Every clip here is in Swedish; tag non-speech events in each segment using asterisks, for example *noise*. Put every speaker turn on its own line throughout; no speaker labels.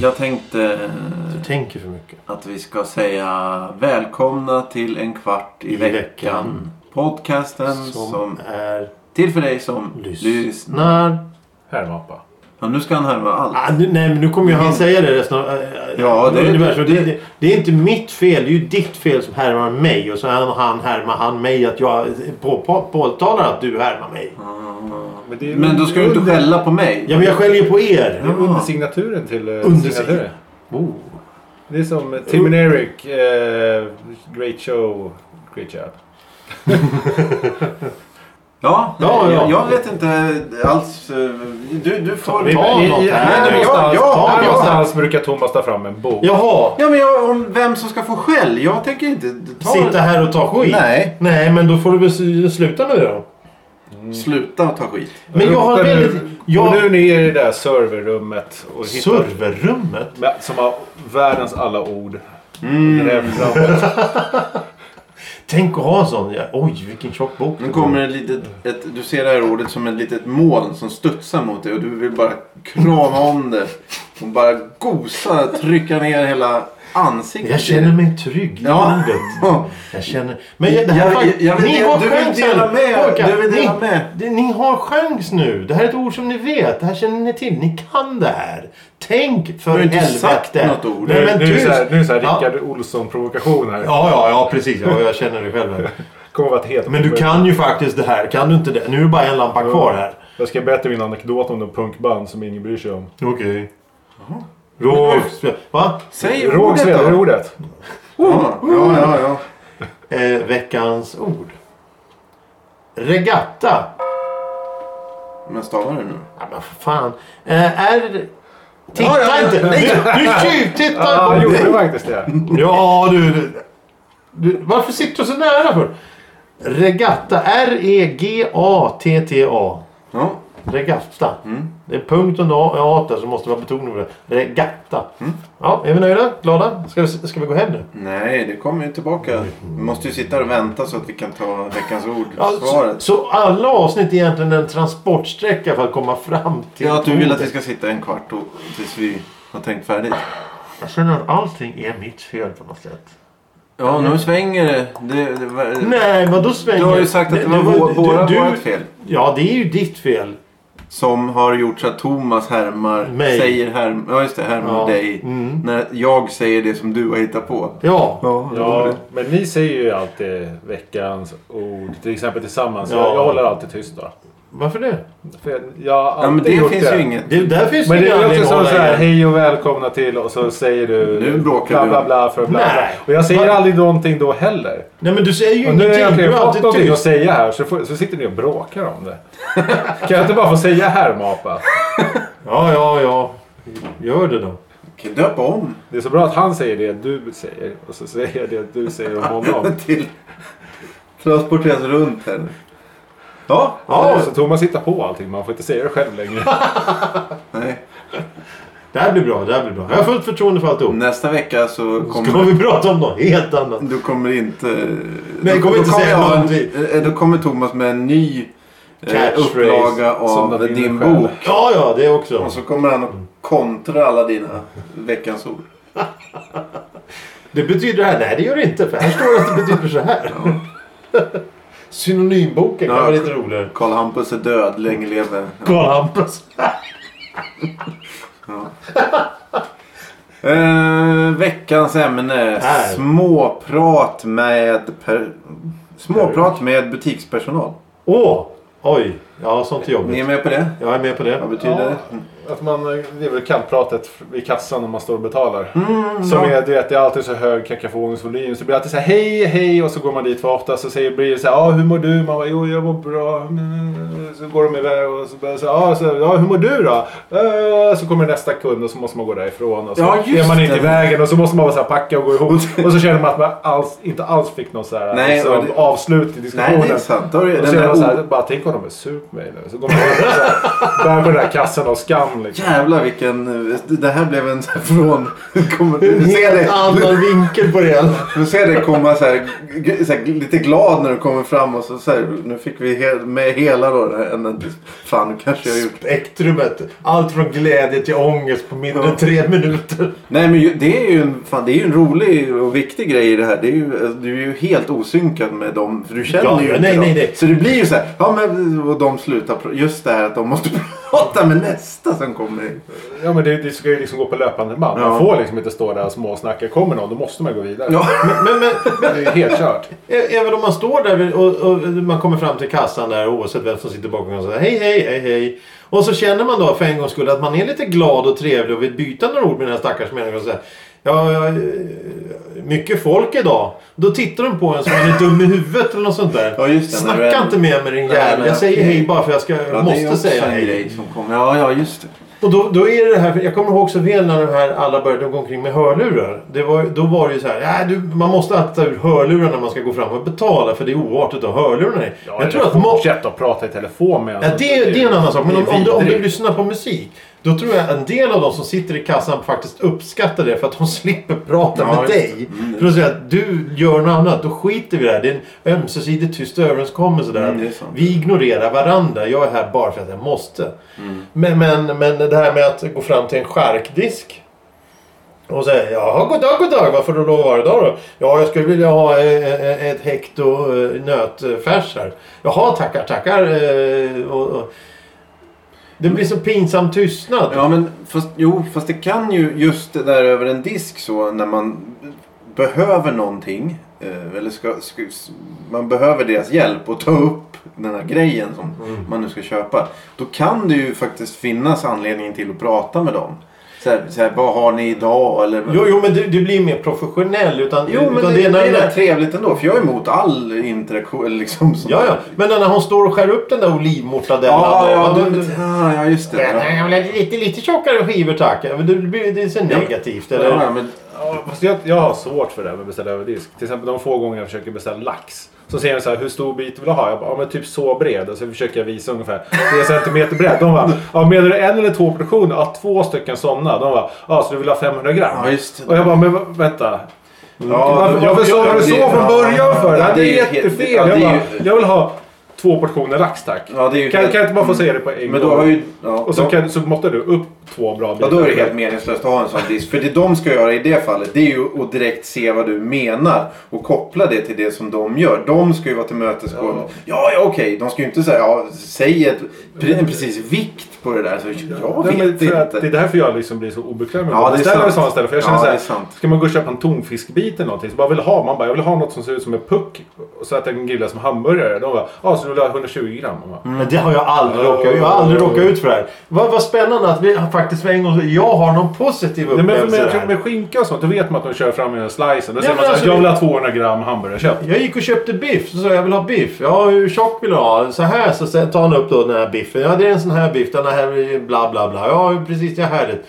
Jag tänkte
Du tänker för mycket.
att vi ska säga välkomna till en kvart i,
I
veckan.
veckan.
Podcasten som,
Som, är
till för dig som
lyssnar.
lyssnar.
Härmapa.
Ja, nu ska han härma allt.
Ah, nu, nej men nu kommer ju han säga det resten av äh,
Ja, det-
universum.
det-
Det, det, det är inte mitt fel. Det är ju ditt fel som härmar mig. Och så han, han härmar han mig. Att jag på, på, påtalar att du härmar mig.
Men, det är
Men då ska du inte
under-
skälla på mig.
Ah. Ja men jag skäller ju på er.
Det är undersignaturen till eh,
Undersign-
signaturen.
Oh.
Det är som eh, Tim and Eric, eh, Great Show, Great Job.
Ja,
Ja, ja.
Jag, jag vet inte alls. eh, Du, du får...
vi-
Ja,
något
I- i-
här.
Här
Ja,
någonstans-
ja,
här
ja.
någonstans brukar Thomas ta fram en bok.
Jaha.
men jag, om vem som ska få skäll. Jag tänker inte ta...
Sitta här och ta skit.
Nej.
Nej men då får du väl s- sluta nu då.
Sluta att ta skit.
Men jag har
Ropa nu-
väldigt...
Och
Jag,
nu är ni i det där serverrummet. Och hittar-
serverrummet?
med- Som har världens alla ord.
Mm.
Gräv fram.
Tänk att ha en sån. Ja, oj vilken tjock bok.
Nu kommer ett litet, ett, du ser det här ordet som ett litet moln som studsar mot dig och du vill bara krama om det. Och bara gosa, trycka ner hela ansiktet.
Jag känner mig trygg i
Ja.
livet.
*laughs* Ja.
Jag känner... Men det här
Jag-
var-
jag- jag vill
ni
dela-
har
du vill
chansen,
dela med-
pojkar.
du vill dela
ni,
med.
det- Ni har chans nu. Det här är ett ord som ni vet. Det här känner ni till. Ni kan det här. Tänk för
har inte
helvete.
sagt något ord.
Nu,
Nej, men
nu, är det
du...
så här- nu är det så här
Ja.
Rickard Olsson-provokation här.
Ja, ja, ja, precis. Ja, jag känner det själv.
*laughs*
här.
Kommer att vara ett helt
Men du kan ju faktiskt det här. Kan du inte det? Nu är det bara en lampa kvar här.
Jag ska berätta min anekdot om de punkband som ingen bryr sig om.
Okej. Rolf... Va?
Säg
Råg
ordet då.
ordet.
Ja, ja, ja, ja.
Eh, veckans ord. Regatta.
Men stavar du nu?
Ja, men för fan. Eh, är... Titta
Ja, ja, ja.
inte! Du, du tjuvtittar
Ja, jag
på
gjorde
mig!
faktiskt det.
Ja, du, du, du. Varför sitter du så nära för? Regatta. E R-E-G-A-T-T-A.
Ja.
Regatta.
Mm.
Det är punkt under A A där så måste vara betoning på det. Regatta.
Mm.
Ja, är vi nöjda? Glada? Ska vi, ska vi gå hem nu?
Nej, det kommer ju tillbaka. Vi måste ju sitta här och vänta så att vi kan ta veckans ord.
Ja, så,
Svaret.
så alla avsnitt är egentligen en transportsträcka för att komma fram till...
Ja, att du vill att vi ska sitta en kvart och, tills vi har tänkt färdigt.
Jag känner att allting är mitt fel på något sätt.
Ja, nu svänger det. det, det var-
Nej, vadå svänger?
du har ju sagt att det var vå- våra, vårt fel.
Ja, det är ju ditt fel.
Som har gjort så att Thomas härmar,
Mig.
säger härm, ja just det, härmar
Ja.
dig.
Mm.
När jag säger det som du har hittat på.
Ja.
Ja,
Ja, men ni säger ju alltid veckans ord. Till exempel tillsammans.
Ja.
Jag, jag håller alltid tyst då.
Varför det?
För jag, jag har
ja men
alltid
det
gjort
finns ju inget.
det där finns
Men
ju
det
ingen
är också
anledning
som
att
så
hålla
här,
igen.
hej och välkomna till och så säger du
Nu bråkar
bla
du.
bla bla för bla, bla.
Nej.
Och jag säger
Va?
aldrig någonting då heller.
Nej, men du säger ju
Och nu har jag
ingenting. Du
äntligen
är
fått
alltid
någonting att
tyst.
säga här så, får, så sitter ni och bråkar om det. kan jag inte bara få säga här Mapa?
Ja, ja, ja. Gör det då.
Kan döpa om
Det är så bra att han säger det du säger och så säger jag det du säger om honom.
*laughs* till... Transporteras runt här. Ja.
Ja,
Så Thomas hittar på allting, man får inte säga det själv längre.
Nej.
det här blir bra. Det här blir bra. Jag har fullt förtroende för alltihop.
Nästa vecka så
Ska
kommer...
vi prata om något helt annat?
Du kommer inte...
Nej,
då-
kommer
då
inte säga
jag-
någonting.
eh, Då kommer Thomas med en ny eh,
Catchphrase
upplaga
som
av
de vinner
din
själv.
bok.
Ja, ja, det också.
Och så kommer han att kontra alla dina veckans ord.
Det betyder det här. Nej, det gör det inte. För här står det att det betyder så här. *laughs* Synonymboken kan
Ja.
vara lite roligare.
Karl Hampus är död, länge leve.
Karl Hampus.
Eh, veckans ämne.
Här.
Småprat med, per, småprat med butikspersonal.
Åh! Oj. Ja, sånt är
Ni är
jobbigt.
med på det?
Jag är med på det.
Vad betyder
Ja.
det?
Att man, eh, det är väl kantpratet vid kassan när man står och betalar. Mm,
Mm,
Som är, du vet, det är alltid så hög kakafonisk-volym. Så det blir alltid så här hej, hej och så går man dit för ofta så säger, blir det så här, ah, hur mår du? Man bara, jo jag mår bra. Mm. Så går de iväg och så börjar så, ah, så ja hur mår du då? Äh, så kommer nästa kund och så måste man gå därifrån. Och så
Ja, just
är man inte
det.
i vägen och så måste man bara så här packa och
*laughs*
gå ihop. och så känner man att man alls, inte alls fick någon så här,
Nej,
liksom,
och det-
avslut i
Nej,
diskussionen.
det är sant. Då är det
och så
den där
är man så
o-
här, bara tänk om de är sur upp mig nu. Så går man upp och så här, bär på den här kassen av skam liksom.
Jävlar vilken... eh, Det här blev en så här från... *laughs* Kommer, du
En
ser
helt
det,
annan vinkel på det.
du ser det komma så här, g- så här, lite glad när du kommer fram och så, så här, Nu fick vi he, med hela då. det här ämnet. Fan, nu kanske jag gjort...
Spektrumet. Allt från glädje till ångest på mindre än tre minuter.
Nej men ju- det är ju en, fan, det är ju en rolig och viktig grej i det här. Det är ju, alltså, du är ju helt osynkad med dem. För du känner
Ja,
ju
ja,
inte
nej,
dem.
nej, nej.
Så det blir ju så här. Ja men och de slutar. pr- Just det här att de måste *laughs* prata med nästa som kommer. in.
Ja men det, det ska ju liksom gå på löpande band.
Ja.
Man får liksom inte stå där och småsnacka. Kommer någon då måste man gå vidare.
Ja.
Men, men,
Det är ju helt kört.
Ä- Även om man står där vid- och, och man kommer fram till kassan där oavsett vem som sitter bakom kassan. Hej, hej, hej, hej. Och så känner man då för en gångs skull att man är lite glad och trevlig och vill byta några ord med den här stackars människan. och säga, Ja, ja, eh, mycket folk idag. Då tittar de på en som man är dum i huvudet eller något sånt där.
Ja, just det, när du
Snacka
är-
inte med mig din
Nej,
jävel.
men
Jag säger
okej.
hej bara för jag ska,
Ja, det är ju
måste
också
säga
en
hej.
grej som kommer. Ja, ja just det.
Och då, då är det här, jag kommer ihåg så väl när de här alla började gå omkring med hörlurar. Det var, då var det ju så här, "Nej, du, man måste alltid ta ur hörlurarna när man ska gå fram och betala för det är oartigt att ha hörlurarna i. jag tror att ma-
Fortsätt att prata i telefon med
Ja, det, det är en annan sak. Men
det är
om, om, du, om du
vidrigt.
lyssnar på musik. Då tror jag en del av de som sitter i kassan faktiskt uppskattar det för att de *laughs* slipper prata
Ja,
med
just det. Mm.
dig. För att säga att du gör något annat, då skiter vi i det här. Det är en ömsesidig tyst överenskommelse där.
Mm, det är sant.
vi ignorerar varandra. Jag är här bara för att jag måste.
Mm.
Men, men, men det här med att gå fram till en skärkdisk. Och säger jaha god dag, god dag. Vad får du lov att vara idag då? Ja, jag skulle vilja ha eh, eh, ett hekto eh, nötfärs här. Jaha, tackar, tackar. eh, Och, och. Det blir så pinsam tystnad.
Ja men fast, jo, fast det kan ju just det där över en disk så när man behöver någonting. eh, Eller ska, ska, man behöver deras hjälp att ta upp den här grejen som man nu ska köpa. Då kan det ju faktiskt finnas anledning till att prata med dem. Så här, så här, vad har ni idag? Eller,
Jo, jo men du, du blir mer professionell. Utan,
Jo, men
utan
det, det,
är när-
är
när-
rätt trevligt ändå. För jag är emot all interaktion. eller Liksom, sånt
Ja,
där.
ja. Men när hon står och skär upp den där olivmortadellen.
Ja, ja,
då-
du, ja, ja, just det.
Nej,
Ja.
jag vill ha lite, lite tjockare skivor tack. Ja, Men det, blir, det är så negativt. Eller?
Ja, men,
Ja, fast jag, jag har svårt för det här med att beställa över disk. Till exempel de få gånger jag försöker beställa lax. Så säger de så här, hur stor bit vill du ha? Jag bara, ja, men typ så bred. Och så försöker jag visa ungefär 3 centimeter bredd. De bara, ja, menar du en eller två portioner? Ja, två stycken sådana. De bara, ja, så du vill ha 500 gram?
ja, just det.
Och jag bara, men va- vänta.
Ja,
varför varför sa du så
det-
från början för? Det
Ja,
här
ju
är
helt-
jättefel.
ja, det är
Jag bara,
ju-
jag vill ha två portioner lax tack.
Ja, det är ju
Kan,
helt-
kan jag inte bara få säga det på en
Men
gång?
då har ju... Ja,
Och så,
då-
kan, så måttar du upp två bra bitar.
ja, då är det helt meningslöst att ha en sån disk. För det de ska göra i det fallet det är ju att direkt se vad du menar och koppla det till det som de gör. De ska ju vara tillmötesgående. Ja, ja, okej. De ska ju inte säga ja, säg ett, pre- en precis vikt på det där. Så, jag
Nej,
vet
men för att
inte.
det är därför jag liksom blir så obekväm med
Ja, det är
att beställa
sant.
sådana ställen. För jag
Ja,
känner
det är
så här,
sant.
ska man gå och köpa en tonfiskbit eller någonting så bara vill ha. Man bara, jag vill ha något som ser ut som en puck så att jag kan grilla som hamburgare. De bara, ja ah, så du vill ha 120 gram? Man bara,
Men det har jag aldrig råkat ut Jag har aldrig råkat ut för det här. Vad, vad spännande att vi faktiskt för en gång jag har någon positiv
Nej, men för
upplevelse
med,
där.
med skinka och sånt, då vet man att de kör fram i den här slicen. Då
Ja,
säger
men
man såhär,
alltså,
jag vill
det-
ha 200 gram hamburgarkött.
Jag gick och köpte biff. Så sa jag, jag vill ha biff. Ja, hur tjock vill du ha? Så här. Så sen tar han upp då den här biffen. Ja, det är en sån här biff. Den här är bla bla bla. Ja, precis. Det här är det.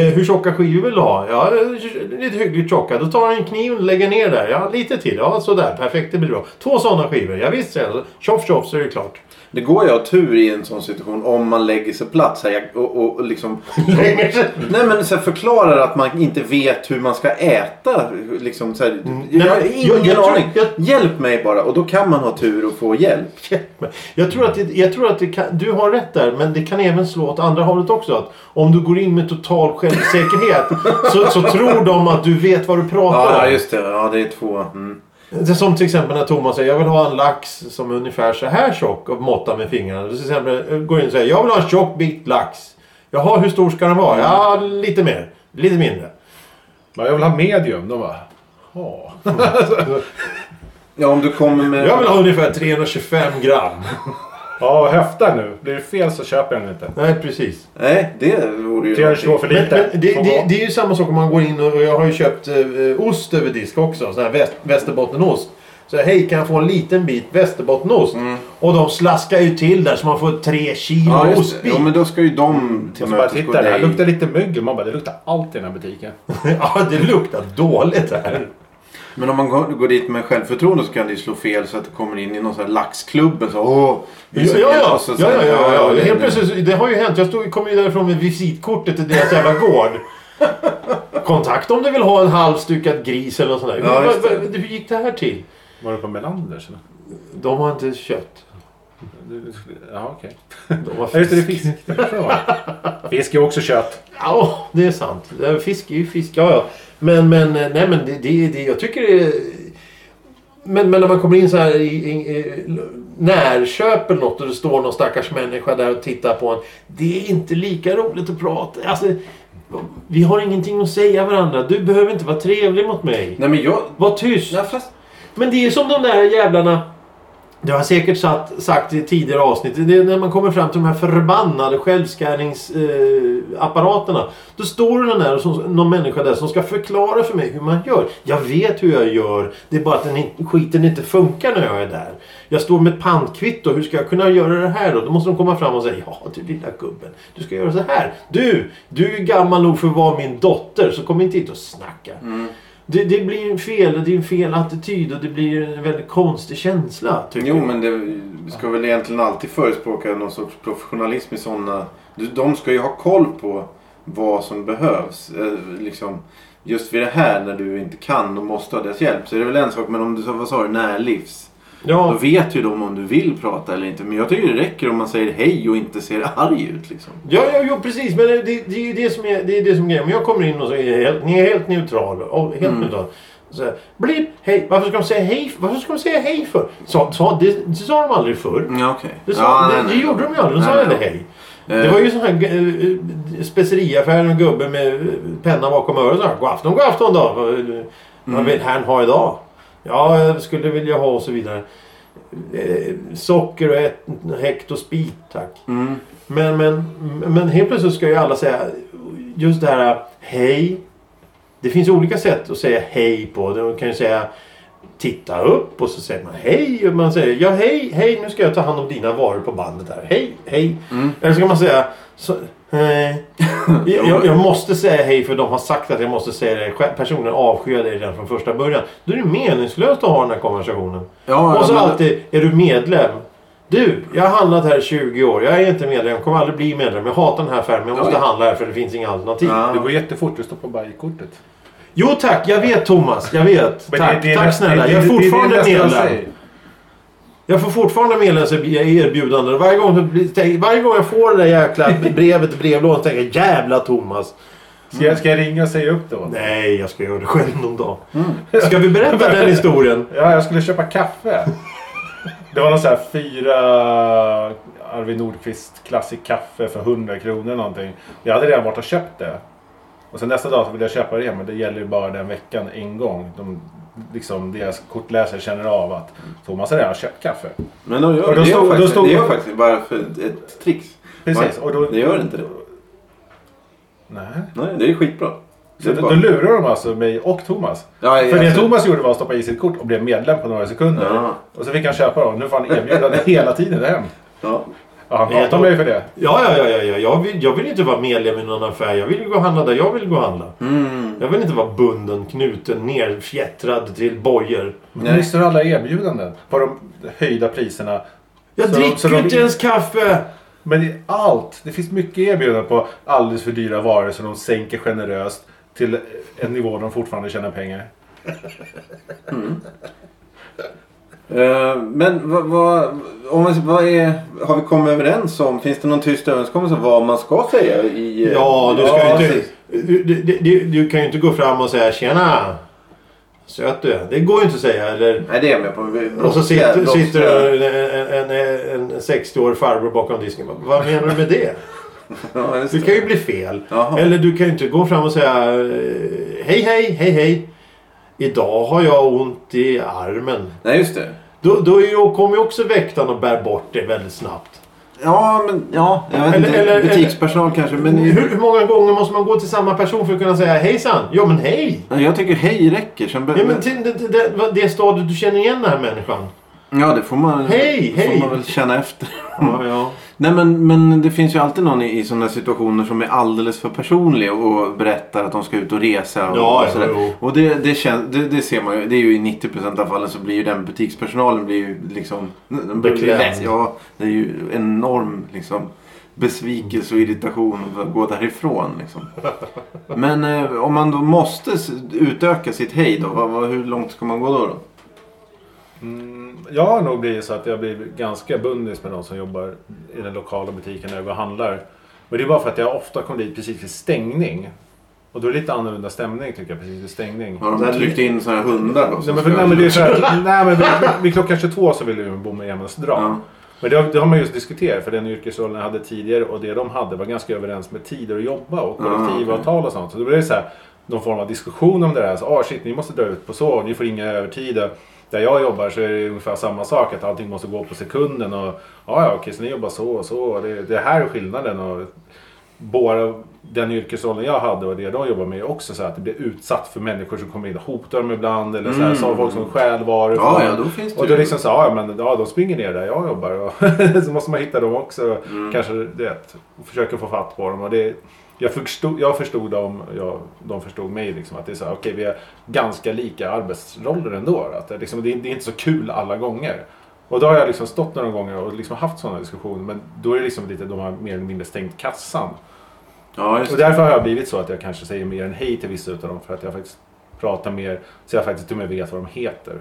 Eh, hur tjocka skivor vill du ha? Ja, eh, lite hyggligt tjocka. Då tar han en kniv och lägger ner där. Ja, lite till. Ja, sådär. Perfekt, det blir bra. Två sådana skivor. Ja, visst säger jag. Tjoff tjoff så är det klart.
Det går ju att ha tur i en sån situation om man lägger sig platt så här, och, och, och
*laughs*
liksom...
Lägger sig.
Nej men så här, förklarar att man inte vet hur man ska äta. Liksom, så här, jag har
Mm. men-
ingen
jag- jag tror-
aning.
jag-
Hjälp mig bara. Och då kan man ha tur och få hjälp.
Men Jag tror att, det, jag tror att det kan, du har rätt där, men det kan även slå åt andra hållet också. Att om du går in med total självsäkerhet
*laughs*
så, så tror de att du vet vad du pratar
Ja,
om.
just det. Ja, det är två. Mm.
Det är Som till exempel när Thomas säger jag vill ha en lax som är ungefär så här tjock och måttar med fingrarna. Till exempel eh, går in och säger jag vill ha en tjock bit lax. Jaha, hur stor ska den vara? Ja, lite mer. Lite mindre.
Bara, jag vill ha medium. De bara, ja.
Ja, om du kommer med...
Jag vill ha ungefär 325
*laughs*
gram.
*laughs* Ja, höfta nu. Blir det fel så köper jag den inte.
Nej, precis.
Nej, det vore ju...
322 för
Men,
lite.
men det,
Får
det,
vara.
det är ju samma sak om man går in och och jag har ju köpt eh, ost över disk också. Sån här väst, västerbottenost. Så jag, hej kan jag få en liten bit västerbottenost? Och de slaskar ju till där så man får tre kilo
Mm. Ja, just det.
ostbit.
Jo,
*laughs*
men då ska ju de
Och så bara,
tillmötesgå
titta det här
dig.
luktar lite mögel. Man bara, det luktar allt i den här butiken.
ja, det luktar dåligt här.
Men om man går, går dit med självförtroende så kan det ju slå fel så att det kommer in i någon sån här laxklubb. och Så, Åh,
Ja,
vi ska-
ja, ja,
och så- så-
ja, ja, ja, ja.
det-
Helt plötsligt, det har ju hänt. Jag stod, kom ju därifrån med visitkortet till deras jävla
*laughs*
gård. Kontakt om du vill ha en halvstyckad gris eller något sånt där.
Ja,
Hur-
just det.
vad- vad- Hur gick det här till?
Var det på Melanders? eller?
De har inte kött.
Du- du skulle- Ja, okej.
De har
Ja, just det, det är
fisk.
fisk. Därför var det. Fisk är också kött.
Ja, det är sant. Det är Fisk är ju fisk. Ja, ja. Men, men, eh, nej, men det, det, det, jag tycker det är... Men, men när man kommer in så här i, i, i närköp eller något och det står någon stackars människa där och tittar på en. Det är inte lika roligt att prata. Alltså, vi har ingenting att säga varandra. Du behöver inte vara trevlig mot mig.
Nej men jag...
Var tyst.
Ja, fast...
Men det är som de där jävlarna. Det har jag säkert satt, sagt i tidigare avsnitt. Det är när man kommer fram till de här förbannade självskärningsapparaterna. Eh, apparaterna. då står det någon, där, och som, någon människa där som ska förklara för mig hur man gör. Jag vet hur jag gör. Det är bara att den, inte- skiten inte funkar när jag är där. Jag står med ett pantkvitto. Hur ska jag kunna göra det här då? Då måste de komma fram och säga. Ja du lilla gubben. Du ska göra så här. Du! Du är ju gammal nog för att vara min dotter. Så kom inte hit och snacka. Det, det blir en fel, och det är en fel attityd och det blir en väldigt konstig känsla. Tycker
Jo
jag.
men det ska väl egentligen alltid förespråka någon sorts professionalism i sådana... De ska ju ha koll på vad som behövs. Eh, Liksom, just vid det här när du inte kan och måste ha deras hjälp så är det väl en sak. Men om du sa, vad sa du, närlivs? Då
Ja,
vet ju de om du vill prata eller inte. Men jag tycker det räcker om man säger hej och inte ser *laughs* arg ut liksom.
ja, ja, jo, precis. Men det, det, det är ju det som är, det är, det som är grejen. Om jag kommer in och så är jag helt, ni är helt neutral. Och helt
Mm.
neutral. Så här, blipp, hej. Varför ska de säga hej? Varför ska de säga hej för? Sa, sa, det, det sa de aldrig förr.
Ja, okej.
Det, sa,
Ja,
det,
nej,
det
nej.
gjorde de ju aldrig. De sa
Nej,
aldrig
nej.
hej. Det var ju sån här eh, speceriaffär med gubbe med eh, penna bakom öronen. Så här, God afton, god afton då. Vad
Mm.
vad vill herrn ha idag? Ja, jag skulle vilja ha och så vidare. Eh, Socker och ett häkt och spik tack.
Mm.
Men, men, men helt plötsligt ska ju alla säga just det här hej. Det finns olika sätt att säga hej på. Man kan ju säga titta upp och så säger man hej. Och man säger ja hej, hej nu ska jag ta hand om dina varor på bandet här. Hej, hej. Eller ska man säga så, hej. Jag, jag- jag måste säga hej för de har sagt att jag måste säga det. Själv- Personen avskyr dig redan från första början. Då är det meningslöst att ha den här konversationen.
Ja,
Och så
ja, men-
alltid, är du medlem? Du, jag har handlat här i 20 år. Jag är inte medlem, kommer aldrig bli medlem. Jag hatar den här affären, men jag måste
Ja, ja.
handla här för det finns inga alternativ.
Ja.
Det går jättefort. Du stoppar bara i kortet.
Jo tack, jag vet Thomas. Jag vet.
Men
tack,
det- det-
tack snälla.
det- det-
jag är
det- det- det
fortfarande
nästan jag
medlem.
säger.
Jag får fortfarande medlemserbjudanden. Varje gång, jag blir- tänk- varje gång jag får det där jäkla brevet i brevlådan så tänker jag jävla Thomas.
Ska jag, ska jag ringa och säga upp då?
Nej, jag ska göra det själv någon dag. Ska vi berätta den historien?
Ja, jag skulle köpa kaffe. Det var någon så här fyra Arvid Nordqvist klassik kaffe för 100 kronor någonting. Jag hade redan varit och köpt det. Och sen nästa dag så ville jag köpa det igen, men det gäller ju bara den veckan en gång. De, liksom, deras kortläsare känner av att Thomas har redan köpt kaffe.
Men de gör,
Och då
det,
stod-
gör
då
faktiskt,
stod-
det gör faktiskt bara för ett trix.
Precis.
Va?
Och då,
Det gör inte det.
Nej.
Nej, det är skitbra. Det
Så
är
då,
bara-
då lurar de alltså mig och Thomas.
Ja,
För det
alltså-
Thomas gjorde var att stoppa i sitt kort och blev medlem på några sekunder.
Ja.
Och så fick han köpa dem. Nu får han
*laughs*
erbjudanden hela tiden hem.
Ja.
Ja, han
Jag
hatar
tror-
mig för det.
Ja, ja, ja, ja, ja. Jag, vill, jag vill inte vara medlem i någon affär. Jag vill ju gå och handla där jag vill gå och handla.
Mm.
Jag vill inte vara bunden, knuten, nerfjättrad till bojor.
Nej.
Men missar alla erbjudanden på de höjda priserna.
Jag
Så-
dricker
så
ju
de-
inte ens kaffe!
Men i allt. Det finns mycket erbjudanden på alldeles för dyra varor som de sänker generöst till en nivå de fortfarande tjänar pengar.
Eh, men vad, vad, om, vi- vad är, har vi kommit överens om? Finns det någon tyst överenskommelse om vad man ska säga? I, eh,
Ja, du ska
ja,
ju inte...
precis.
Du, du, du, du kan ju inte gå fram och säga tjena! Söt du är." Det går ju inte att säga. Eller...
Nej, det är jag med på. Vi-
Och så sitter,
brottsliga-
sitter en, en, en, en 60-årig farbror bakom disken. Vad menar du med det?
Ja, just
Du
det.
kan ju bli fel.
Jaha.
Eller du kan ju inte gå fram och säga eh, hej, hej, hej, hej. Idag har jag ont i armen.
Nej, just det.
Då, då är ju- kommer ju också väktaren och bär bort det väldigt snabbt.
Ja, men ja, jag vet
Eller-
inte.
eller-
Butikspersonal kanske. Men
Hur, hur många gånger måste man gå till samma person för att kunna säga hejsan? Ja, men hej!
Ja, jag tycker hej räcker. Sen be-
Ja, men till det, det, vad- det stadiet du känner igen den här människan.
ja, det får man,
Hej,
får
hej.
man väl känna efter.
Ja, ja.
Nej men, men det finns ju alltid någon i, i sådana situationer som är alldeles för personlig och och berättar att de ska ut och resa. Och,
Ja,
och, sådär.
jo, jo.
och det, det, kän, det, det ser man ju. Det är ju i 90% av fallen så blir ju den butikspersonalen blir ju liksom... De blir
Beklämd.
less- Ja, det är ju enorm liksom besvikelse och irritation för att gå därifrån.
*laughs*
Liksom. Men eh, om man då måste s- utöka sitt hej då, vad, vad, hur långt ska man gå då? då?
Mm, jag har nog blivit så att jag blir ganska bundis med de som jobbar i den lokala butiken när jag går och handlar. Men det är bara för att jag ofta kommer dit precis vid stängning. Och då är det lite annorlunda stämning tycker jag precis vid stängning.
Har
Där-
de tryckt in sådana här hundar då?
Nej
som
men, för,
ska-
nej, men det är så här, nej, men vid, vid klockan 22 så vill ju bomma igenom oss dra.
Ja.
Men det, har- det har man just diskuterat för den yrkesrollen jag hade tidigare och det de hade var ganska överens med tider att jobba och
Ah,
kollektivavtal och sånt. Så då blev det så här, någon form av diskussion om det där. Så, ah, shit, ni måste dra ut på så och ni får inga övertider. Där jag jobbar så är det ungefär samma sak att allting måste gå på sekunden och ah, ja, okej, så ni jobbar så och så. och Det, det här är skillnaden. Och, båda den yrkesrollen jag hade och det de jobbar med är också så här att det blir utsatt för människor som kommer in och hotar dem ibland. Eller så här,
Mm.
så har folk som stjäl varor.
Ja,
från-
ja, då finns det
och
ju-
då liksom så, ja men ja, de springer ner där jag jobbar. Och *laughs* så måste man hitta dem också. Kanske du vet, och försöka få fatt på dem. Och det, jag, förstod, jag förstod dem, jag, de förstod mig. Liksom, att det är så här, okej vi har ganska lika arbetsroller ändå. Att det, liksom, det, är- det är inte så kul alla gånger. Och då har jag liksom stått några gånger och liksom haft sådana diskussioner. Men då är det liksom lite, de har mer eller mindre stängt kassan.
Ja, just
Och
det.
därför har jag blivit så att jag kanske säger mer än hej till vissa utav dem. För att jag faktiskt pratar mer, så jag faktiskt till och med vet vad de heter.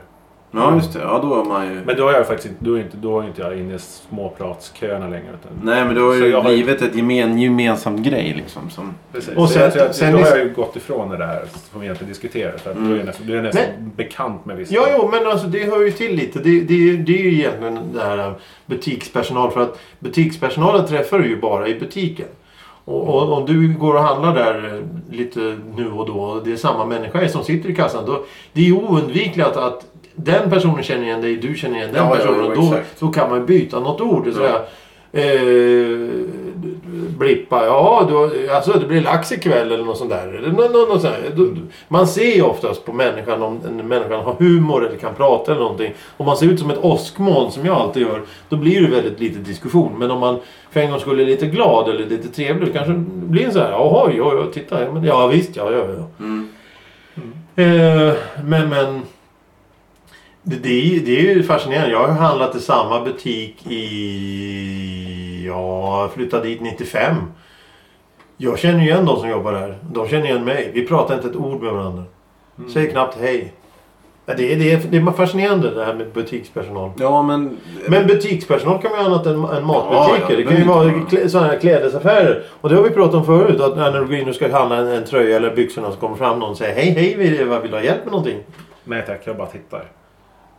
Ja, just det. Ja, då är man ju...
Men då är jag faktiskt inte, då är inte, då är inte jag inne i småpratsköerna längre. Utan,
Nej, men då har
Så
ju
jag har-
blivit ett gemen, gemensam grej liksom. Som...
Precis.
Och
Och
sen-
sen, jag tror att,
sen
då
är-
har jag ju gått ifrån det där som vi egentligen diskuterar. För att då är
Mm.
jag nästan, då är jag nästan bekant med vissa.
Ja, jo, men alltså det hör ju till lite. Det, det, är ju- det är ju egentligen det här eh, butikspersonal. För att butikspersonalen träffar du ju bara i butiken. Och, och om du går och handlar där eh, lite nu och då och det är samma människa som sitter i kassan. Då, det är ju oundvikligt att, att den personen känner igen dig, du känner igen den
Ja, ja,
personen.
jo,
då,
exakt.
då kan man ju byta något ord. Så
Ja.
här, eh, blippa, ja du, alltså det blir lax ikväll eller något sånt där. Eller nå- nå- något sånt där. Du- du- Man ser ju oftast på människan om en människan har humor eller kan prata eller någonting. Om man ser ut som ett åskmoln som jag alltid gör, då blir det väldigt lite diskussion. Men om man för en gång skulle är lite glad eller lite trevlig, då kanske det blir en så här, jaha, ja, ja, titta, ja, men, ja visst, ja, ja, ja.
Mm.
Eh, men, men. Det, det, är, ju- det är ju fascinerande. Jag har ju handlat i samma butik i... Ja, jag flyttade dit 95. Jag känner ju igen de som jobbar där. De känner igen mig. Vi pratar inte ett ord med varandra.
Mm.
Säger knappt hej. Ja, Det är, det, är, det är fascinerande det här med butikspersonal.
Ja, men...
Men butikspersonal kan vara annat än, än
Ja, ja,
matbutiker.
det
det kan ju
behöver
vara
inte vara.
klä- sådana här klädesaffärer. Och det har vi pratat om förut. Att när du går in och ska handla en, en tröja eller byxorna så kommer fram någon och säger Hej hej, vill, vad vill du ha hjälp med någonting?
Nej tack, jag bara tittar.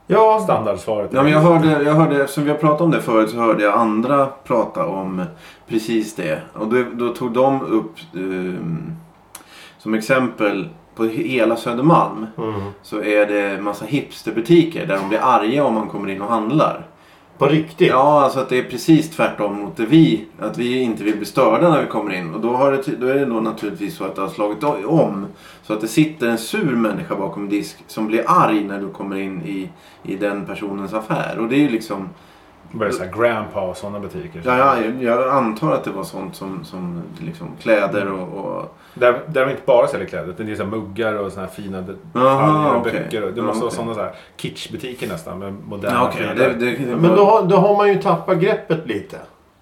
Ja,
Standardsvaret.
Ja, men jag, hörde, jag hörde, eftersom vi har pratat om det förut så hörde jag andra prata om precis det. Och det, då tog de upp ehm, som exempel på hela Södermalm
mm.
så är det massa hipsterbutiker där de blir arga om man kommer in och handlar.
på riktigt.
Ja, alltså att det är precis tvärtom mot det vi. Att vi inte vill bli störda när vi kommer in. Och då, har det, ty- då är det då naturligtvis så att det har slagit o- om. Så att det sitter en sur människa bakom disk som blir arg när du kommer in i, i den personens affär. Och det är ju liksom...
Börjar såhär grandpa och sådana butiker.
Ja, ja, jag, jag antar att det var sånt som, som liksom kläder och... och
Där, där de inte bara säljer kläder utan det är så här muggar och sådana här fina detaljer
Aha,
och
okej.
böcker. och Det
Ja,
måste vara
okej.
sådana så här kitschbutiker nästan med moderna
ja, okej.
kläder.
det, det, det,
Men då, har- då har man ju tappat greppet lite.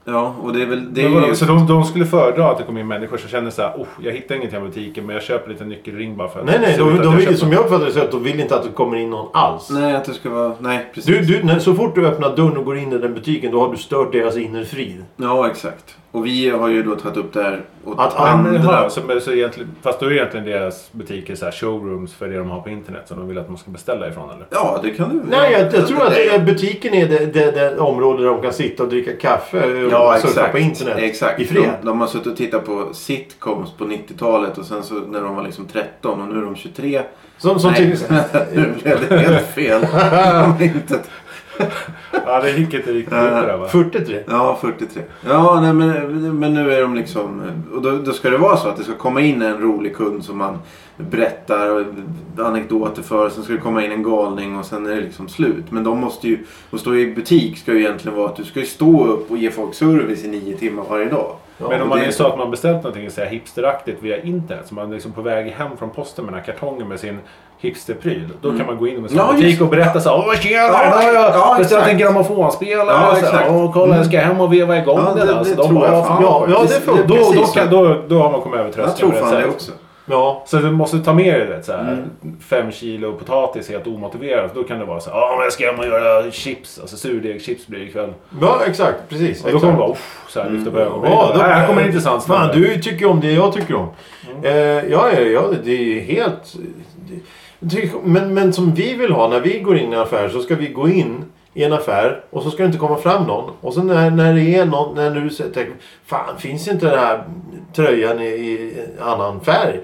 Ja, och det är väl... Det är
Men vadå,
ju,
Så de, de skulle föredra att det kom in människor som känner så här, oh, jag hittar inget i den här butiken men jag köper lite nyckelring bara för att
Nej, nej.
se ut
De,
att
de vill,
köper-
som jag uppfattar det så att de vill inte att det kommer in någon alls.
nej, att det ska vara... Nej, precis.
Du, du, när, så fort du öppnar dörren och går in i den butiken då har du stört deras inre frid.
Ja, exakt. Och vi har ju då tagit upp det här åt
Att
andra...
Jaha, så, men så egentligen, fast då är egentligen deras butiker så här showrooms för det de har på internet som de vill att man ska beställa ifrån eller?
Ja, det kan du
Nej, jag, jag tror att det är, butiken är det, det, det område där de kan sitta och dricka kaffe och
Ja,
surfa
exakt.
på internet.
Exakt.
I fred.
De, de har suttit och tittat på sitcoms på 90-talet och sen så när de var liksom 13 och nu är de 23.
Som, typ
*laughs*
som
Nej,
till, *laughs*
nu blev det helt fel. De har inte-
Ja, det gick inte riktigt ut det där va?
43.
Ja, 43. Ja, nej, men, men nu är de liksom... Och då, då ska det vara så att det ska komma in en rolig kund som man berättar och anekdoter för. Sen ska det komma in en galning och sen är det liksom slut. Men de måste ju... Att stå i butik ska ju egentligen vara att du ska ju stå upp och ge folk service i nio timmar varje dag.
Men
och
om man
det-
är så att man beställt någonting så här hipsteraktigt via internet. Så man är liksom på väg hem från posten med den här kartongen med sin hipsterpryl. Då kan man gå in i en sån
Ja, just-
butik och berätta så här. Åh tjena!
Ja,
här har jag
ja,
beställt
exakt.
en grammofonspelare.
Ja,
Ja, så
exakt. Mm.
här, Åh kolla jag ska hem och veva igång
Ja,
den.
det-
alltså,
det
de
tror
bara,
jag fan
ja,
på.
ja,
Det-
det
det är
funkar. Då, då,
precis
kan- då, då har man kommit över
Jag
tröskeln.
tror
på
fan
sättet.
det också.
Ja.
Så du måste ta med dig det. Så här,
Mm.
Fem kilo potatis helt omotiverat. Då kan det vara så här. Ja, men jag ska hem och göra chips. Alltså surdegschips blir det ikväll.
ja, exakt. Precis.
Och då
exakt.
kommer man bara uff, så här, lyfta på ögonbrynen.
Ja, då-
här kommer en intressant
Fan,
snubbe.
du tycker ju om det jag tycker om.
Mm.
Eh, ja, ja, ja, det är ju helt... Det, tycker- men, men som vi vill ha, när vi går in i en affär så ska vi gå in i en affär och så ska det inte komma fram någon. Och så när, när det är någon, när du säger tänker, Fan, finns inte den här tröjan i, i en annan färg?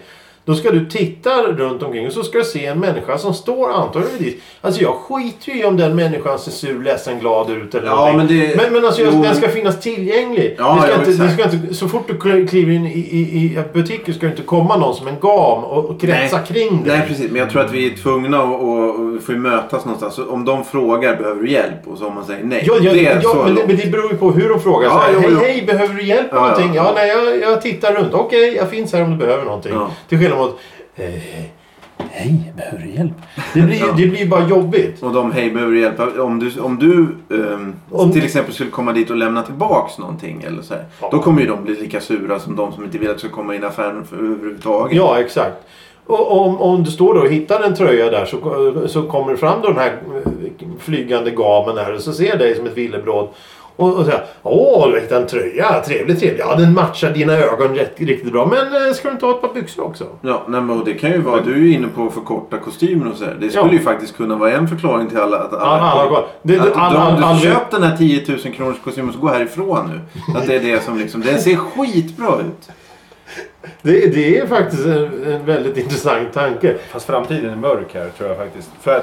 Då ska du titta runt omkring och så ska du se en människa som står antagligen vid ditt. Alltså jag skiter ju i om den människan ser sur, ledsen, glad ut eller
Ja,
någonting.
men det-
men, men alltså jag,
jo,
den
men-
ska finnas tillgänglig.
Ja,
det ska
ja,
inte, det
exakt.
ska ska inte, så fort du kl- kliver in i, i, i butiken ska det inte komma någon som en gam och, och kretsa
Nej.
kring dig.
Nej precis, men jag tror att vi är tvungna att och, och får ju mötas någonstans. Så Om de frågar behöver du hjälp och så om man säger nej.
Ja, ja,
det är
ja,
så
men, det,
långt.
men det beror ju på hur de frågar.
Ja,
så här,
jo,
hej,
jo.
hej, behöver du hjälp med
Ja, ja,
någonting? Ja,
ja.
nej, jag, jag tittar runt. Okej, jag finns här om du behöver någonting.
Ja.
Till skillnad mot... Eh, hej, behöver du hjälp? Det blir ju
Ja.
det blir bara jobbigt.
Och de, hej behöver du hjälp? Om du, om du ehm,
Om-
till exempel skulle komma dit och lämna tillbaks någonting eller så här,
Ja.
Då kommer ju de bli lika sura som de som inte vill att du ska komma in i affären för, överhuvudtaget.
Ja, exakt. Och om, om du står då och hittar en tröja där så, så kommer det fram då den här eh, flygande gamen där och så ser jag dig som ett villebråd. Och, och säger Åh, du hittade en tröja. Trevligt, trevligt. Ja, den matchar dina ögon rätt, riktigt bra. Men eh, ska du inte ha ett par byxor också?
Ja, nej, men och det kan ju vara, du är ju inne på att förkorta kostymen och så här. Det skulle
Ja.
ju faktiskt kunna vara en förklaring till alla. Att, alla,
Alla- alla- det- det-
att
alla-
de, om du
alla-
köp den här 10 000 kronors kostymen så gå härifrån nu. Att det är det som liksom, den ser skitbra ut.
Det, det är faktiskt en, en väldigt *laughs* intressant tanke.
Fast framtiden är mörk här tror jag faktiskt. För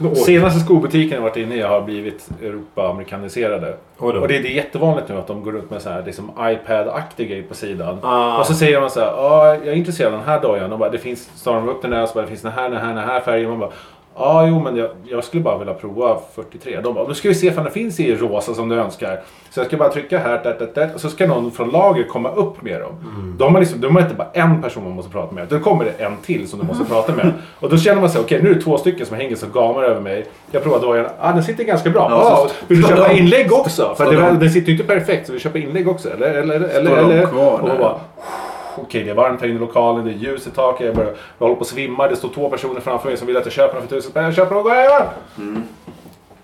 att senaste skobutiken jag varit inne i har blivit Europa-amerikaniserade.
Oj då.
Och det, det är jättevanligt nu att de går runt med så här, liksom iPad-aktig grej på sidan.
Ah.
Och så säger man så här, ja jag är intresserad av den här dojan. Och bara, det finns, så tar de upp den där och så bara, det finns den här, den här, den här färgen. Och man bara, ja jo men jag, jag skulle bara vilja prova 43. De bara, nu ska vi se ifall den finns i rosa som du önskar. Så jag ska bara trycka här, där, där, där. Och så ska någon från lager komma upp med dem.
Mm.
Då har man liksom, då har man inte bara en person man måste prata med. Då kommer det en till som
*laughs*
du måste prata med. Och då känner man sig, okej nu är det två stycken som hänger som gamar över mig. Jag provar dojan, ah den sitter ganska bra.
Ja,
ah,
så-
vill du
så
*laughs*
köpa
de-
inlägg också? För
så
det,
de-
var- den sitter ju inte perfekt så vi köper inlägg också. Eller? eller, eller, eller,
de
eller.
kvar
och man
där?
bara, Okej, det är varmt här inne i lokalen, det är ljus i taket, jag, börjar, jag håller på att svimma, det står två personer framför mig som vill att jag köper dem för tusen spänn. Jag köper dem och går hem!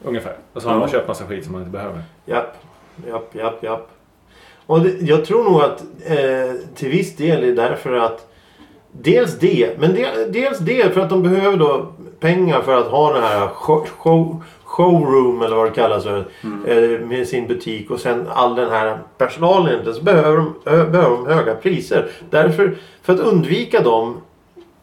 Ungefär. Och så har man
Mm. Ja.
köpt massa skit som man inte behöver.
Japp, japp, japp, japp. Och det, jag tror nog att eh, till viss del är därför att dels det, men de, dels det för att de behöver då pengar för att ha den här show, show, showroom eller vad det kallas för, eh, med sin butik och sen all den här personalen. egentligen, Så behöver de, ö, behöver de höga priser. Därför, för att undvika dem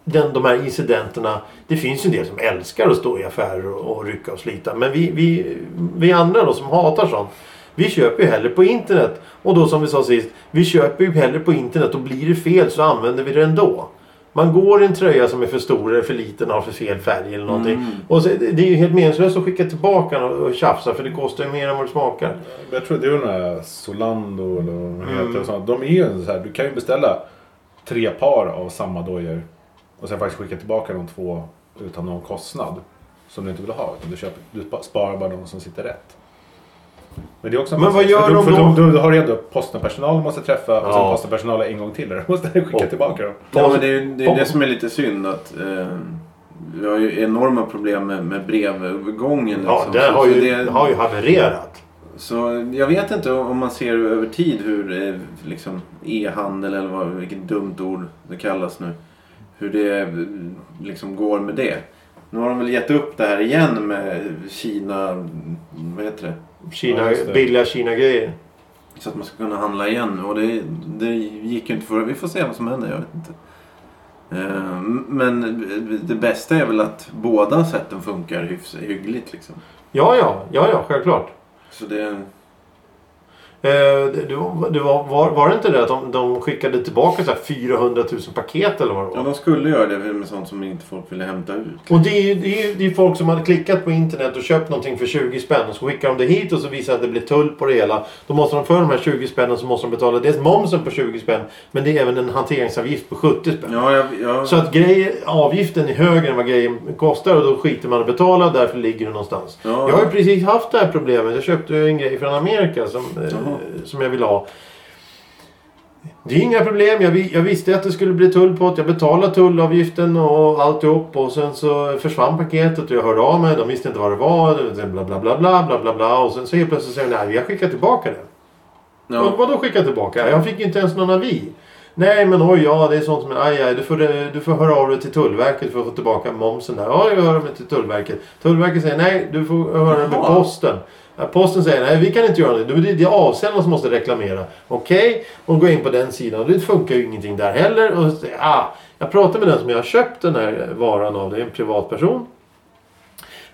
den, de här incidenterna. Det finns ju en del som älskar att stå i affärer och, och rycka och slita. Men vi, vi, vi andra då som hatar sånt. Vi köper ju hellre på internet. Och då som vi sa sist. Vi köper ju hellre på internet och blir det fel så använder vi det ändå. Man går i en tröja som är för stor eller för liten har för fel färg eller någonting. Och så, det det är ju helt meningslöst att skicka tillbaka den och och tjafsa för det kostar ju mer än vad det smakar.
Jag tror det är den här Solando eller vad de heter.
Mm.
Och sånt. De är ju så här, du kan ju beställa tre par av samma dojor och sen faktiskt skicka tillbaka de två utan någon kostnad som du inte vill ha. Utan du, köper, du spa- sparar bara de som sitter rätt. Men, det är också en
Men
massa-
vad gör
för då-
de
för
då?
Då, då har du ändå postenpersonal du måste träffa och
Ja.
sen postenpersonal en gång till. *laughs* där Du måste skicka
Och-
tillbaka dem.
Ja, men det är ju det, är det som är lite synd att eh, vi har ju enorma problem med, med brevövergången.
Ja,
liksom.
det har
Så
ju,
det-
har ju havererat.
Så jag vet inte om man ser över tid hur eh, liksom, e-handel eller vad, vilket dumt ord det kallas nu. Hur det eh, liksom går med det. Nu har de väl gett upp det här igen med Kina, vad heter det?
Kina,
Ja, just det.
billiga Kina-grejer.
Så att man ska kunna handla igen. Och det, det gick ju inte förra. Vi får se vad som händer, jag vet inte. Eh, Men det bästa är väl att båda sätten funkar hyfs- hyggligt. Liksom.
Ja, ja, ja, ja självklart.
Så det,
Eh, det, det var, det var, var, var det inte det att de, de skickade tillbaka så här 400 000 paket eller vad det var?
ja, de skulle göra det med sånt som inte folk ville hämta ut.
Och det är ju det är, ju- det är folk som hade klickat på internet och köpt någonting för 20 spänn och så skickar de det hit och så visar det att det blir tull på det hela. Då måste de för de här 20 spännen så måste de betala dels momsen på 20 spänn men det är även en hanteringsavgift på 70 spänn.
Ja, jag, jag,
Så att grej, avgiften är högre än vad grejen kostar och då skiter man att betala därför ligger det någonstans.
Ja.
Jag har ju precis haft det här problemet. Jag köpte ju en grej från Amerika som, eh,
Jaha.
som jag ville ha. Det är inga problem. Jag, vi- jag visste att det skulle bli tull på det. Jag betalade tullavgiften och alltihop och sen så försvann paketet och jag hörde av mig. De visste inte vad det var. Det var Bla bla bla bla bla bla bla. Och sen så helt plötsligt säger de nej, vi har skickat tillbaka det. Vad,
ja,
vadå skicka tillbaka? Jag fick ju inte ens någon avi. Nej men oj ja det är sånt som aj, aj du, får, eh, du får höra av dig till Tullverket för att få tillbaka momsen där. Ja jag hör mig till Tullverket. Tullverket säger nej du får höra dig med
Jaha.
posten. Ja, Posten säger nej vi kan inte göra det. Det är- det är avsändaren som måste reklamera. Okej och gå in på den sidan. Det funkar ju ingenting där heller. Och, så säger jag, ah, jag pratar med den som jag har köpt den här varan av. Det är en privatperson.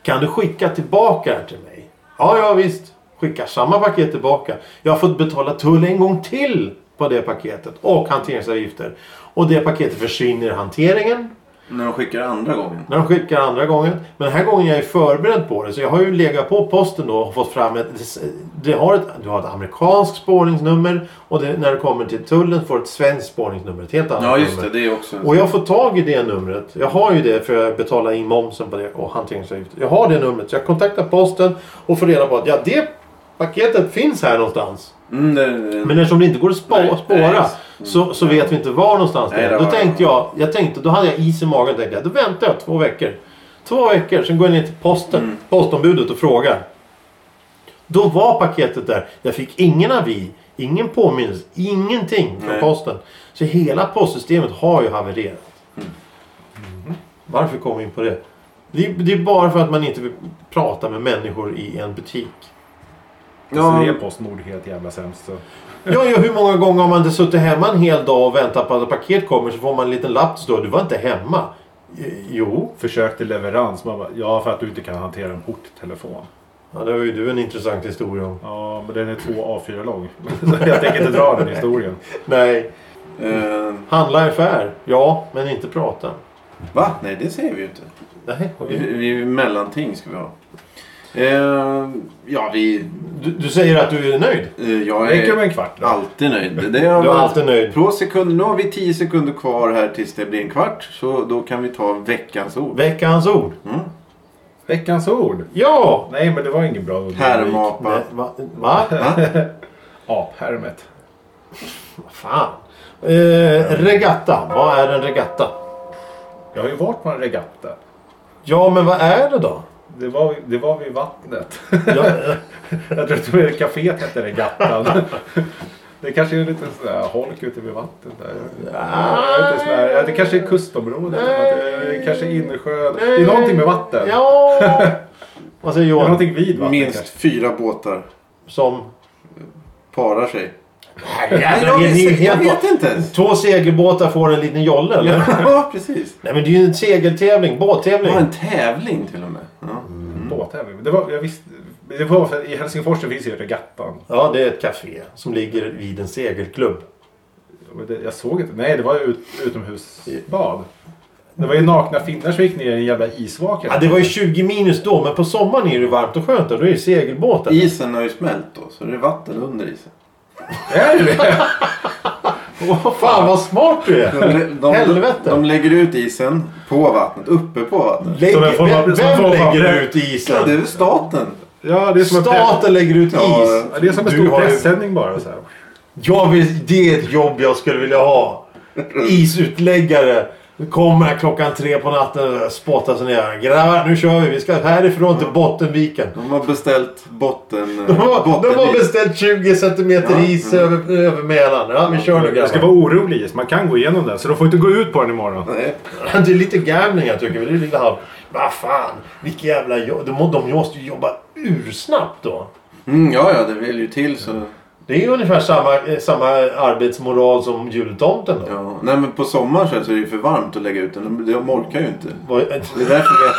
Kan du skicka tillbaka det till mig? Ja, ja visst. Skicka samma paket tillbaka. Jag har fått betala tull en gång till på det paketet och hanteringsavgifter. Och det paketet försvinner i hanteringen
när de skickar andra gången.
när de skickar andra gången. Men den här gången är jag ju förberedd på det. Så jag har ju legat på posten då och fått fram ett... Det har ett du har ett amerikanskt spårningsnummer och det, när det kommer till tullen får du ett svenskt spårningsnummer. Ett helt annat
Ja, just
nummer.
det. Det är också...
Och jag får tag i det numret. Jag har ju det för jag betalar in momsen på det och hanteringsavgifter. Jag har det numret så jag kontaktar posten och får reda på att ja, det paketet finns här någonstans.
Mm, det, det,
Men eftersom det inte går att spå,
Nej,
spåra
nej.
så, så vet vi inte var någonstans det
Nej,
är.
det
Då
var-
tänkte jag, jag tänkte, då hade jag is i magen och tänkte jag, då väntar jag två veckor. Två veckor, sen går jag ner till posten,
Mm.
postombudet och frågar. Då var paketet där. Jag fick ingen avi, ingen påminnelse, ingenting från
Nej.
posten. Så hela postsystemet har ju havererat.
Mm.
Varför kom vi in på det? Det är, det är bara för att man inte vill prata med människor i en butik.
Så det är
ja,
Postnord helt jävla sämst. Så.
Ja, ja, hur många gånger har man inte suttit hemma en hel dag och väntat på att ett paket kommer så får man en liten lapp som står du var inte hemma. E- Jo,
Försök till leverans. Man bara, ja, för att du inte kan hantera en porttelefon.
ja, det har ju du en intressant historia om.
Ja, men den är två A4 lång. *laughs* Så jag tänker inte dra den historien.
Nej,
eh,
handla i affär. Ja, men inte prata.
va? Nej, det säger vi ju inte.
Nej,
Vi,
okej.
vi, mellanting ska vi ha. Eh, ja, vi...
du, du säger att du är nöjd.
Eh, jag
Räcker med
är
en kvart. Då.
alltid nöjd. Det har
Du är
varit-
alltid nöjd.
På sekunder, nu har vi 10 sekunder kvar här tills det blir en kvart. Så då kan vi ta veckans ord.
Veckans ord.
Mm.
Veckans ord.
Ja!
Nej, men det var ingen bra ord.
Härmapa.
Nej, va? va?
Aphärmet.
Vad fan? Eh, regatta. Vad är en regatta?
Jag har ju varit på en regatta.
Ja, men vad är det då?
Det var, det var vid vattnet. *laughs*
Ja, eh,
Jag tror till och med kaféet hette regattan. *laughs* Det kanske är en liten sån där holk ute vid vattnet där. Jag vet inte, sån här- Det kanske är kustområde. eller något. Det kanske är innersjö. Det är någonting med vatten. Det *laughs*
ja. Vad säger
är
Johan?
någonting vid vatten
Minst
kanske.
fyra båtar
Som?
parar sig.
Nej,
jag,
ni är
vet, jag
helt
vet inte
*laughs*
ens.
Två segelbåtar får en liten jolle eller?
Ja, precis.
Nej men det är ju en segeltävling,
Det
båttävling.
var en tävling till och med. Ja.
Båttävling. Det var, jag visste, det var, för- I Helsingfors så finns ju regattan.
Ja, det är ett café som ligger vid en segelklubb.
Men det- Jag såg inte. Nej, det var ut, utomhusbad. Det var ju nakna finnar som gick ner i en jävla isvak.
Ja, det var ju 20 minus då, men på sommaren är det varmt och skönt och då är det segelbåtar.
Isen har ju smält då, så det är vatten under isen.
Är det det?
Åh, fan vad smart du är!
De, de,
Helvete.
de lägger ut isen på vattnet, uppe på vattnet.
Lägger,
Som en form av-
vem
som en
vem
form av-
lägger ut
Ja, det är
isen?
väl staten.
Ja, det är som en pre-
Staten lägger ut
Ja,
is.
Ja, det är som en
Du
stor
har ju-
pressändning bara. Så här.
Jag vill, det är ett jobb jag skulle vilja ha. Isutläggare. Kommer här klockan tre på natten och spottar sig ner. Grabbar, nu kör vi. Vi ska härifrån till Bottenviken.
De har beställt botten...
De har, de har
bottenis.
beställt 20 centimeter
Ja, Mm.
is över, över Mälaren. Ja, vi kör nu
Det ska
grabbar.
vara orolig is. Man kan gå igenom den. Så de får inte gå ut på den imorgon.
Nej.
Det är lite gambling jag tycker. men Det är lite halv... Vad fan. Vilket jävla jobb. De, må- de måste ju jobba ursnabbt då.
Mm, ja, ja, det vill ju till så...
Det är ungefär samma, eh, samma arbetsmoral som jultomten. Då.
Ja. Nej men på sommaren så här så är det ju för varmt att lägga ut den. De- De orkar ju inte.
Vad- *laughs* eh,
Det är därför vi...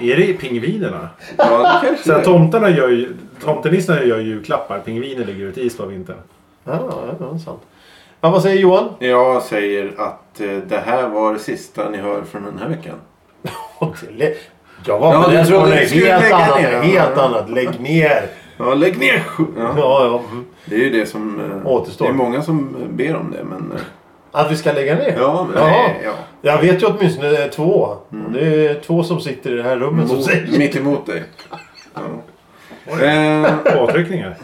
Är det pingvinerna?
Ja, det kanske
Så här,
det är.
tomtarna gör ju, tomtenissarna gör ju julklappar. Pingviner lägger ut is på vintern.
Ja, ja, det är sant. Ja, vad säger Johan?
Jag säger att eh, det här var det sista ni hör från den här veckan.
Jag var
Ja,
på
du
den
trodde
skolan.
du skulle
Helt
lägga
annat.
ner, ja.
Helt annat. Lägg ner.
Ja, lägg ner sk- ja.
Ja, ja. mm.
Det är ju det som... eh,
Återstår.
Det är många som eh, ber om det men... eh,
Att vi ska lägga ner?
Ja, men Mm.
Jaha.
nej, ja.
Jag vet ju åtminstone två. Det är två som sitter i det här rummet som säger
Mot, mitt emot dig. Ja. Eh,
Påtryckningar.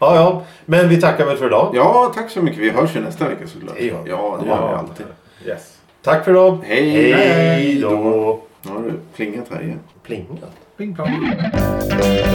Ja, ja. Men vi tackar väl för idag.
ja, tack så mycket. Vi hörs ju nästa vecka såklart.
Det gör vi.
Ja, det gör vi
Ja.
alltid.
Yes.
Tack för idag.
Hej.
Hej då.
Nu har du plingat här igen.
Plingat.
Ping pong.